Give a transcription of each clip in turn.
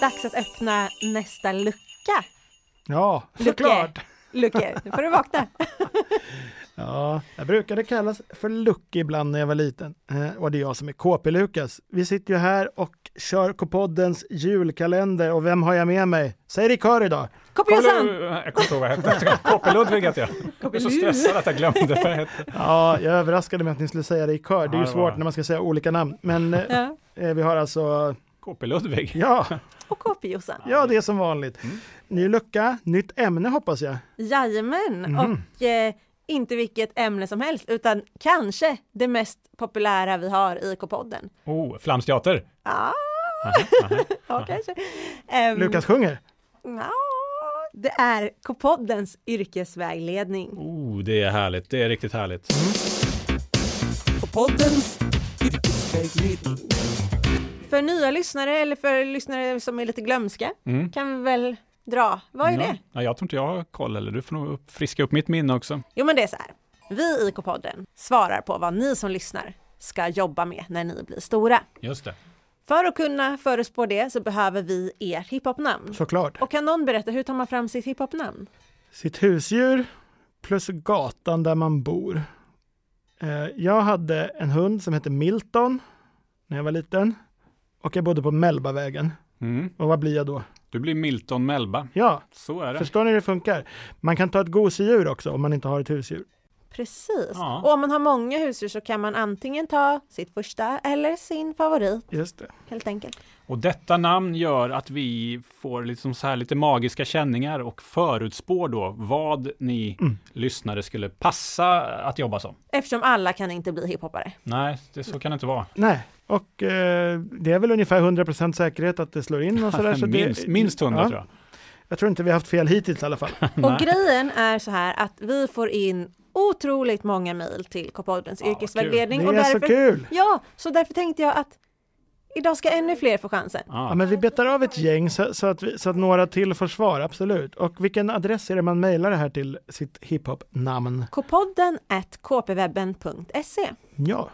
dags att öppna nästa lucka. Ja, såklart! Lucke, nu får du vakna. Ja, jag brukade kallas för Lucky ibland när jag var liten. Eh, och det är jag som är KP-Lukas. Vi sitter ju här och kör K-poddens julkalender och vem har jag med mig? Säg det i kör idag! Kopiosan! Jag kommer inte ihåg vad jag hette. KP-Ludvig hette jag. Jag var så stressad att jag glömde vad jag hette. Ja, jag överraskade mig att ni skulle säga det i kör. Det är Ja, ju det var- svårt när man ska säga olika namn. Men eh, Ja. eh, vi har alltså, KP-Ludvig. ja, Och Kopiosan. ja det är som vanligt. Ny lucka, nytt ämne hoppas jag. Jajamän, och eh, inte vilket ämne som helst, utan kanske det mest populära vi har i K-podden. Oh, Flamsteater. Ah, ja, kanske. Ehm, Lukas sjunger. nja, det är K-poddens yrkesvägledning. Oh, det är härligt. Det är riktigt härligt. För nya lyssnare eller för lyssnare som är lite glömska kan vi väl dra. Vad är det? Mm. Ja, jag tror inte jag har koll, eller du får nog upp- friska upp mitt minne också. Jo, men det är så här. Vi i K-podden svarar på vad ni som lyssnar ska jobba med när ni blir stora. Just det. För att kunna förespå det så behöver vi ert hiphopnamn. Såklart. Och kan någon berätta, hur tar man fram sitt hiphopnamn? Sitt husdjur plus gatan där man bor. Eh, Jag hade en hund som hette Milton när jag var liten och jag bodde på Mellbavägen. Mm. Och vad blir jag då? Du blir Milton Melba. Ja, Så är det. förstår ni hur det funkar? Man kan ta ett gosedjur också om man inte har ett husdjur. Precis. Ja. Och om man har många husdjur så kan man antingen ta sitt första eller sin favorit, Just det. helt enkelt. Och detta namn gör att vi får liksom så här lite magiska känningar och förutspår då vad ni Mm. lyssnare skulle passa att jobba som. Eftersom alla kan inte bli hiphoppare. Nej, det, så kan det inte vara. Nej, och eh, det är väl ungefär 100% säkerhet att det slår in och sådär. Så det- minst, minst 100 Ja, tror jag. Jag tror inte vi har haft fel hittills i alla fall. Och grejen är så här att vi får in otroligt många mejl till K-poddens vad yrkesvägledning. kul. och Det är så kul. Ja, så därför tänkte jag att idag ska ännu fler få chansen. Ja, men vi betar av ett gäng så, så, att vi, så att några till får svar, absolut. Och vilken adress är det man mejlar det här till, sitt hiphop-namn? K-podden at kpwebben.se Ja,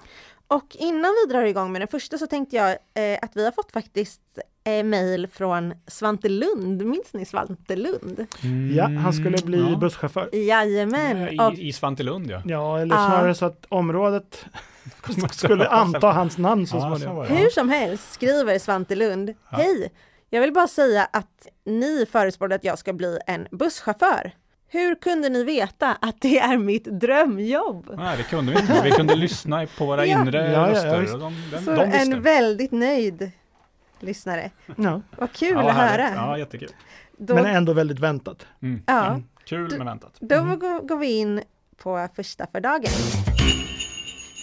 Och innan vi drar igång med den första så tänkte jag eh, att vi har fått faktiskt eh, mejl från Svante Lund. Minns ni Svante Lund? ja han skulle bli Mm, ja. busschaufför. Jajamän! Och, I, I Svantelund ja. Ja, eller Ja. snarare så att området skulle anta hans namn så Ja, småningom. så var det. hur som helst skriver Svante Lund. Hej! Jag vill bara säga att ni förespådde att jag ska bli en busschaufför. Hur kunde ni veta att det är mitt drömjobb? Nej, det kunde vi inte. Vi kunde lyssna på våra Ja. inre Ja, ja, ja, röster. visst. och de, de, Så de visste. en väldigt nöjd lyssnare. Ja. Vad kul ja, att härligt. höra! Ja, eh, jättekul. Då, Men ändå väldigt väntat. Mm. Ja. Mm. Kul men väntat. Då går- går vi in på första för dagen.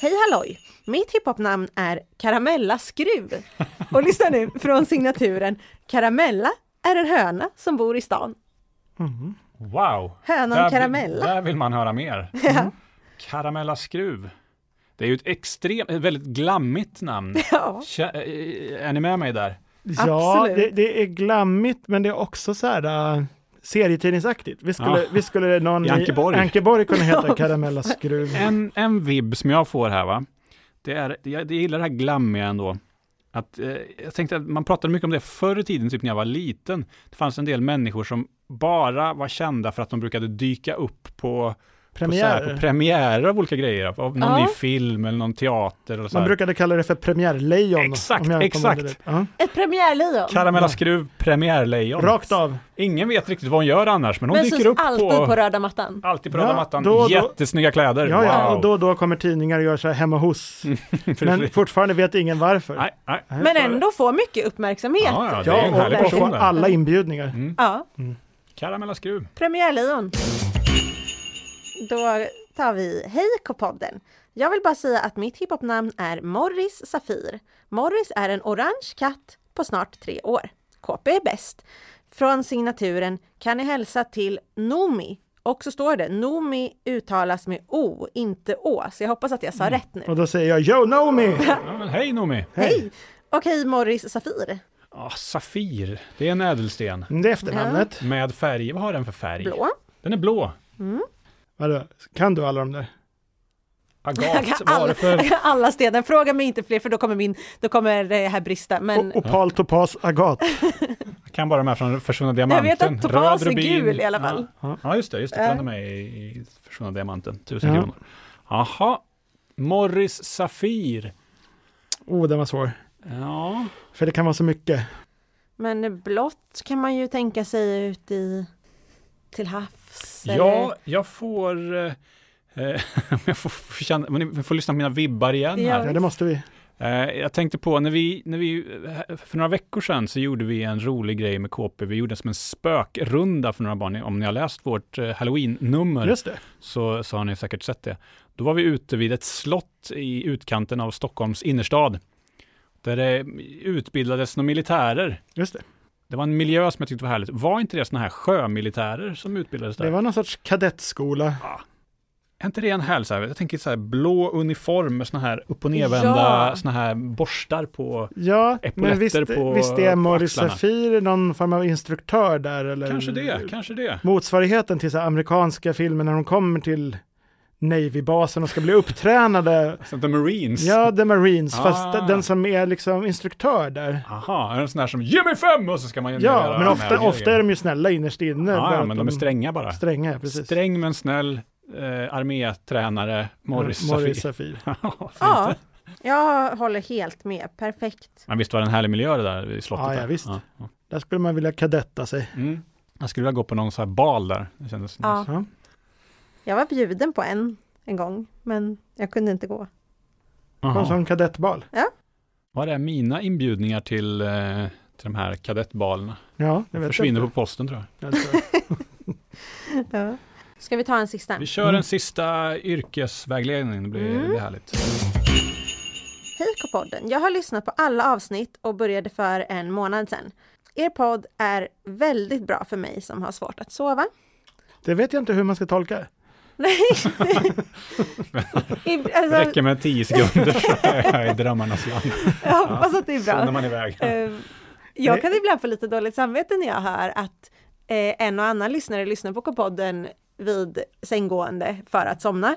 Hej halloj! Mitt hiphopnamn är Karamella Skruv. Och lyssna nu från signaturen. Karamella är en höna som bor i stan. Mm. Wow! Hönan Där- Karamella. Där vill man höra mer. Karamella Skruv. Det är ju ett extremt, ett väldigt glammigt namn. Ja, Kä- eh, Är ni med mig där? Ja, Absolut. det, det är glammigt, men det är också så här äh, serietidningsaktigt. Vi skulle, Ja. vi skulle någon I Ankeborg. i Ankeborg kunna heta Karamella Skruv. En, en vibb som jag får här va, det är, jag, jag gillar det här glammiga ändå. Att, eh, jag tänkte att man pratade mycket om det förr i tiden, typ när jag var liten. Det fanns en del människor som bara var kända för att de brukade dyka upp på På, så här, på Premiär. premiärer av olika grejer, av Ja. någon ny film eller någon teater. Och så Man här. brukade kalla det för premiärlejon. Exakt, om jag kommer ihåg exakt. det. Ja. ett premiärlejon. Karamella Skruv, premiärlejon. Rakt av. Ingen vet riktigt vad hon gör annars, men hon Men syns dyker upp alltid på... röda mattan. alltid på röda Ja, mattan. då och då. Jättesnygga kläder. Ja, ja, wow. och då och då kommer tidningar och gör så här hemma hos. Men fortfarande vet ingen varför. nej, nej. Men ändå får mycket uppmärksamhet. Ja, ja, det är en Ja, härlig och, och person Mm. från där. alla inbjudningar. Ja, Karamella Skruv. premiärlejon. Då tar vi Hej K-podden. Jag vill bara säga att mitt hiphopnamn är Morris Safir. Morris är en orange katt på snart tre år. KP är bäst. Från signaturen kan ni hälsa till Nomi. Och så står det Nomi uttalas med O, inte Å. Så jag hoppas att jag Mm. sa rätt nu. Och då säger jag Yo Nomi! Ja, men hej Noomi! Hej! Och hej Morris Safir. Ah, safir, det är en ädelsten. Mm, Det är efternamnet. Med färg, vad har den för färg? Blå. Den är blå. Vadå? Kan du alla de där? Agat, vad var det för... Alla stenen, fråga mig inte fler för då kommer, min, då kommer det här brista. Men Oh, O- Opal, topas, agat. Jag kan bara de här från Försvunna jag Diamanten. vet att topas är rubin. gul i alla fall. Ja, ja just det, just det. Jag Eh. blandade mig i i Försvunna Diamanten. Tusen Ja. kronor. Jaha. Morris Safir. Oh, den var svår. Ja, För det kan vara så mycket. Men blått kan man ju tänka sig ut i till havs. eller- ja jag får... eh, eh, jag får, känna, men ni får lyssna på mina vibbar igen Ja. här. Ja, det måste vi. Eh, Jag tänkte på, när vi, när vi, eh, för några veckor sedan så gjorde vi en rolig grej med KP. Vi gjorde som en spökrunda för några barn. Om ni har läst vårt eh, halloween-nummer Just det. så, så har ni säkert sett det. Då var vi ute vid ett slott i utkanten av Stockholms innerstad. Där det utbildades några militärer. Just det. Det var en miljö som jag tyckte var härligt. Var inte det sådana här sjömilitärer som utbildades där? det var någon sorts kadettskola. Är inte det en härlig, så här, jag tänker så här blå uniform med sådana här upp och nervända Ja. såna här borstar på Ja, men Epauletter visst, på- visst är på Morris axlarna. Safir någon form av instruktör där? Eller Kanske Eh, det, kanske det. Motsvarigheten till så här amerikanska filmer när de kommer till Navy-basen och ska bli upptränade. Så The Marines. Ja, The Marines, Ah. fast den som är liksom instruktör där. Aha, är det en sån här som ge mig fem och så ska man Ja, göra men de ofta, här ofta är de ju snälla innerst inne. grejerna. bara Ah, Ja, ja, att men de är stränga bara. stränga. ja, precis. Sträng men snäll eh, armétränare Morris Ja, Morris Safir. Safir. ja, jag håller helt med. Perfekt. Men visst var det en härlig miljö det där i slottet? Ja, ja, där. visst. ja. Där skulle man vilja kadetta sig. Mm. Jag skulle vilja gå på någon sån här bal där. Det kändes Ja, Ja. jag var bjuden på en en gång, men jag kunde inte gå. På en Aha. sån kadettbal. Var är mina inbjudningar till, eh, till de här kadettbalerna? Ja, det vet Alltså, Försvinner jag. på posten tror jag. Jag tror- Ja. Ska vi ta en sista? Vi Mm. kör en sista yrkesvägledning, det blir, det Mm. blir härligt. Hej K-podden! Jag har lyssnat på alla avsnitt och började för en månad sedan. Er podd är väldigt bra för mig som har svårt att sova. Det vet jag inte hur man ska tolka. Nej! I- Det alltså, räcker med tio sekunder så är jag i drömmarnas land. jag hoppas att det är Så när bra. man är iväg. Eh, Jag kan ibland få lite dåligt samvete när jag hör att eh, en och annan lyssnare lyssnar på K-podden vid sänggående för att somna.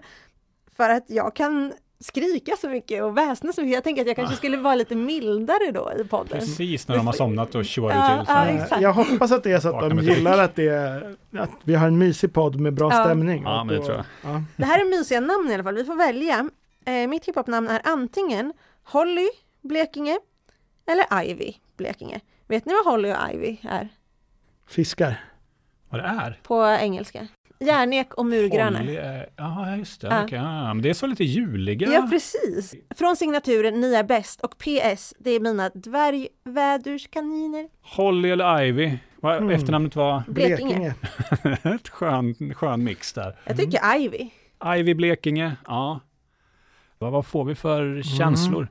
För att jag kan skrika så mycket och väsna så mycket. Jag tänker att jag kanske Ah. skulle vara lite mildare då i podden. Precis när de har somnat och tjoar Ja, det till. Så. ja, här. exakt. Eh, Jag hoppas att det är så att Vakna de med tryck. gillar att, det är, att vi har en mysig podd med bra Ja. stämning. Ja, Och men det då- tror jag. Ja. Det här är mysiga namn i alla fall, vi får välja. Eh, mitt hiphopnamn är antingen Holly Blekinge eller Ivy Blekinge. Vet ni vad Holly och Ivy är Fiskar. Vad det är? på engelska? Järnek och murgranne. Olli är- Ja, just det. Ja. okej, ja, men det är så lite juliga. Ja, precis. Från signaturen Ni är bäst och PS, det är mina dvärgvädurskaniner. Holly eller Ivy. Vad Mm. Efternamnet var Blekinge. ett skön, skön mix där. Jag tycker Ivy. Ivy Blekinge, ja. Vad, vad får vi för känslor?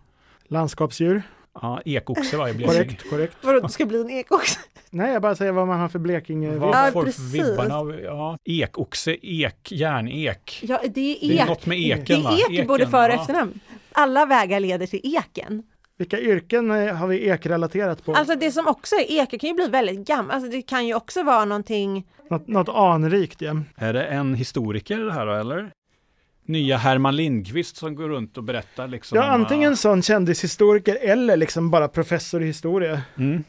Landskapsdjur. Ja, ekoxe var i Blekinge. Korrekt, korrekt. Vadå, det ska bli en ek också? Nej, jag bara säger vad man har för Blekinge. Vad Ja, får precis. vibbarna av? Ja. Ekoxe, ek, järnek. Ja, det är ek. Det är något med eken, Det va? är ek i både för och ja. efternamn. Alla vägar leder till eken. Vilka yrken eh, har vi ekrelaterat på? Alltså det som också är eka kan ju bli väldigt gammalt. Alltså det kan ju också vara någonting, Något, något anrikt igen. Är det en historiker det här då, eller? Nya Herman Lindqvist som går runt och berättar liksom. Ja, om, antingen sån kändishistoriker eller liksom bara professor i historia. ja, Mm.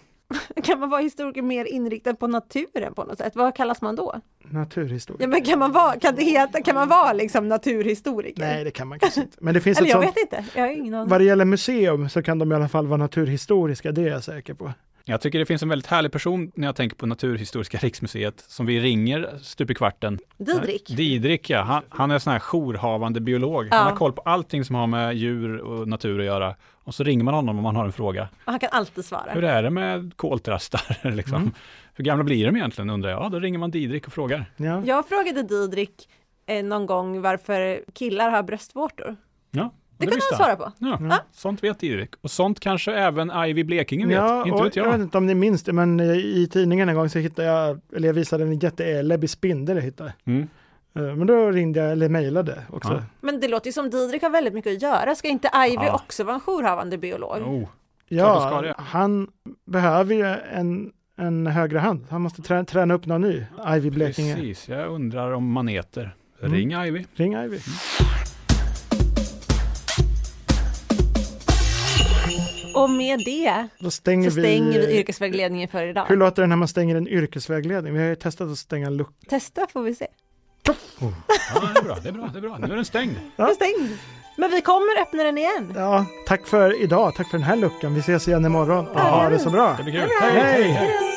kan man vara historiker mer inriktad på naturen på något sätt? Vad kallas man då? Ja Naturhistoria. men kan man vara, kan det heta, kan man vara liksom naturhistoriker? Nej, det kan man kanske inte. Men det finns Eller ett jag sånt. vet inte, jag har ingen aning. Vad det gäller museum så kan de i alla fall vara naturhistoriska, det är jag säker på. Jag tycker det finns en väldigt härlig person när jag tänker på Naturhistoriska riksmuseet som vi ringer stup i kvarten. Didrik. Didrik ja, han, han är sån här jourhavande biolog. Ja. Han har koll på allting som har med djur och natur att göra. Och så ringer man honom om man har en fråga. Och han kan alltid svara. Hur är det med koltrastar liksom? Mm. Hur gamla blir de egentligen undrar jag. Ja, då ringer man Didrik och frågar. Ja. Jag frågade Didrik eh, någon gång varför killar har bröstvårtor. Ja, och Det kunde visste han svara på. Ja, Ja. sånt vet Didrik. Och sånt kanske även Ivy Blekinge vet. inte och vet jag vet jag. inte om ni minns det, men eh, i tidningen en gång så hittade jag, eller jag visade en jätteläbbig spindel jag hittade. Mm. Eh, Men då ringde jag, eller mejlade också. Ja. Men det låter ju som Didrik har väldigt mycket att göra. Ska inte Ivy Ja. också vara en jourhavande biolog? Oh. Klart hon ska Ja, det. han behöver ju en, en högre hand. Han måste trä, träna upp någon ny. Ivy Blekinge. Precis, jag undrar om maneter. Mm. Ring Ivy. Ring Ivy. Och med det Då stänger, så stänger vi vi... yrkesvägledningen för Hur idag. låter det när man stänger en yrkesvägledning? Vi har ju testat att stänga en lucka. Testa får vi se. Ja, det är bra, det är bra, det är bra. Nu är den stängd. Den är stängd. Men vi kommer öppna den igen. Ja, tack för idag. Tack för den här luckan. Vi ses igen imorgon. Och Ja, ha det det gör så vi. bra. Det blir kul. Hej! Hej då!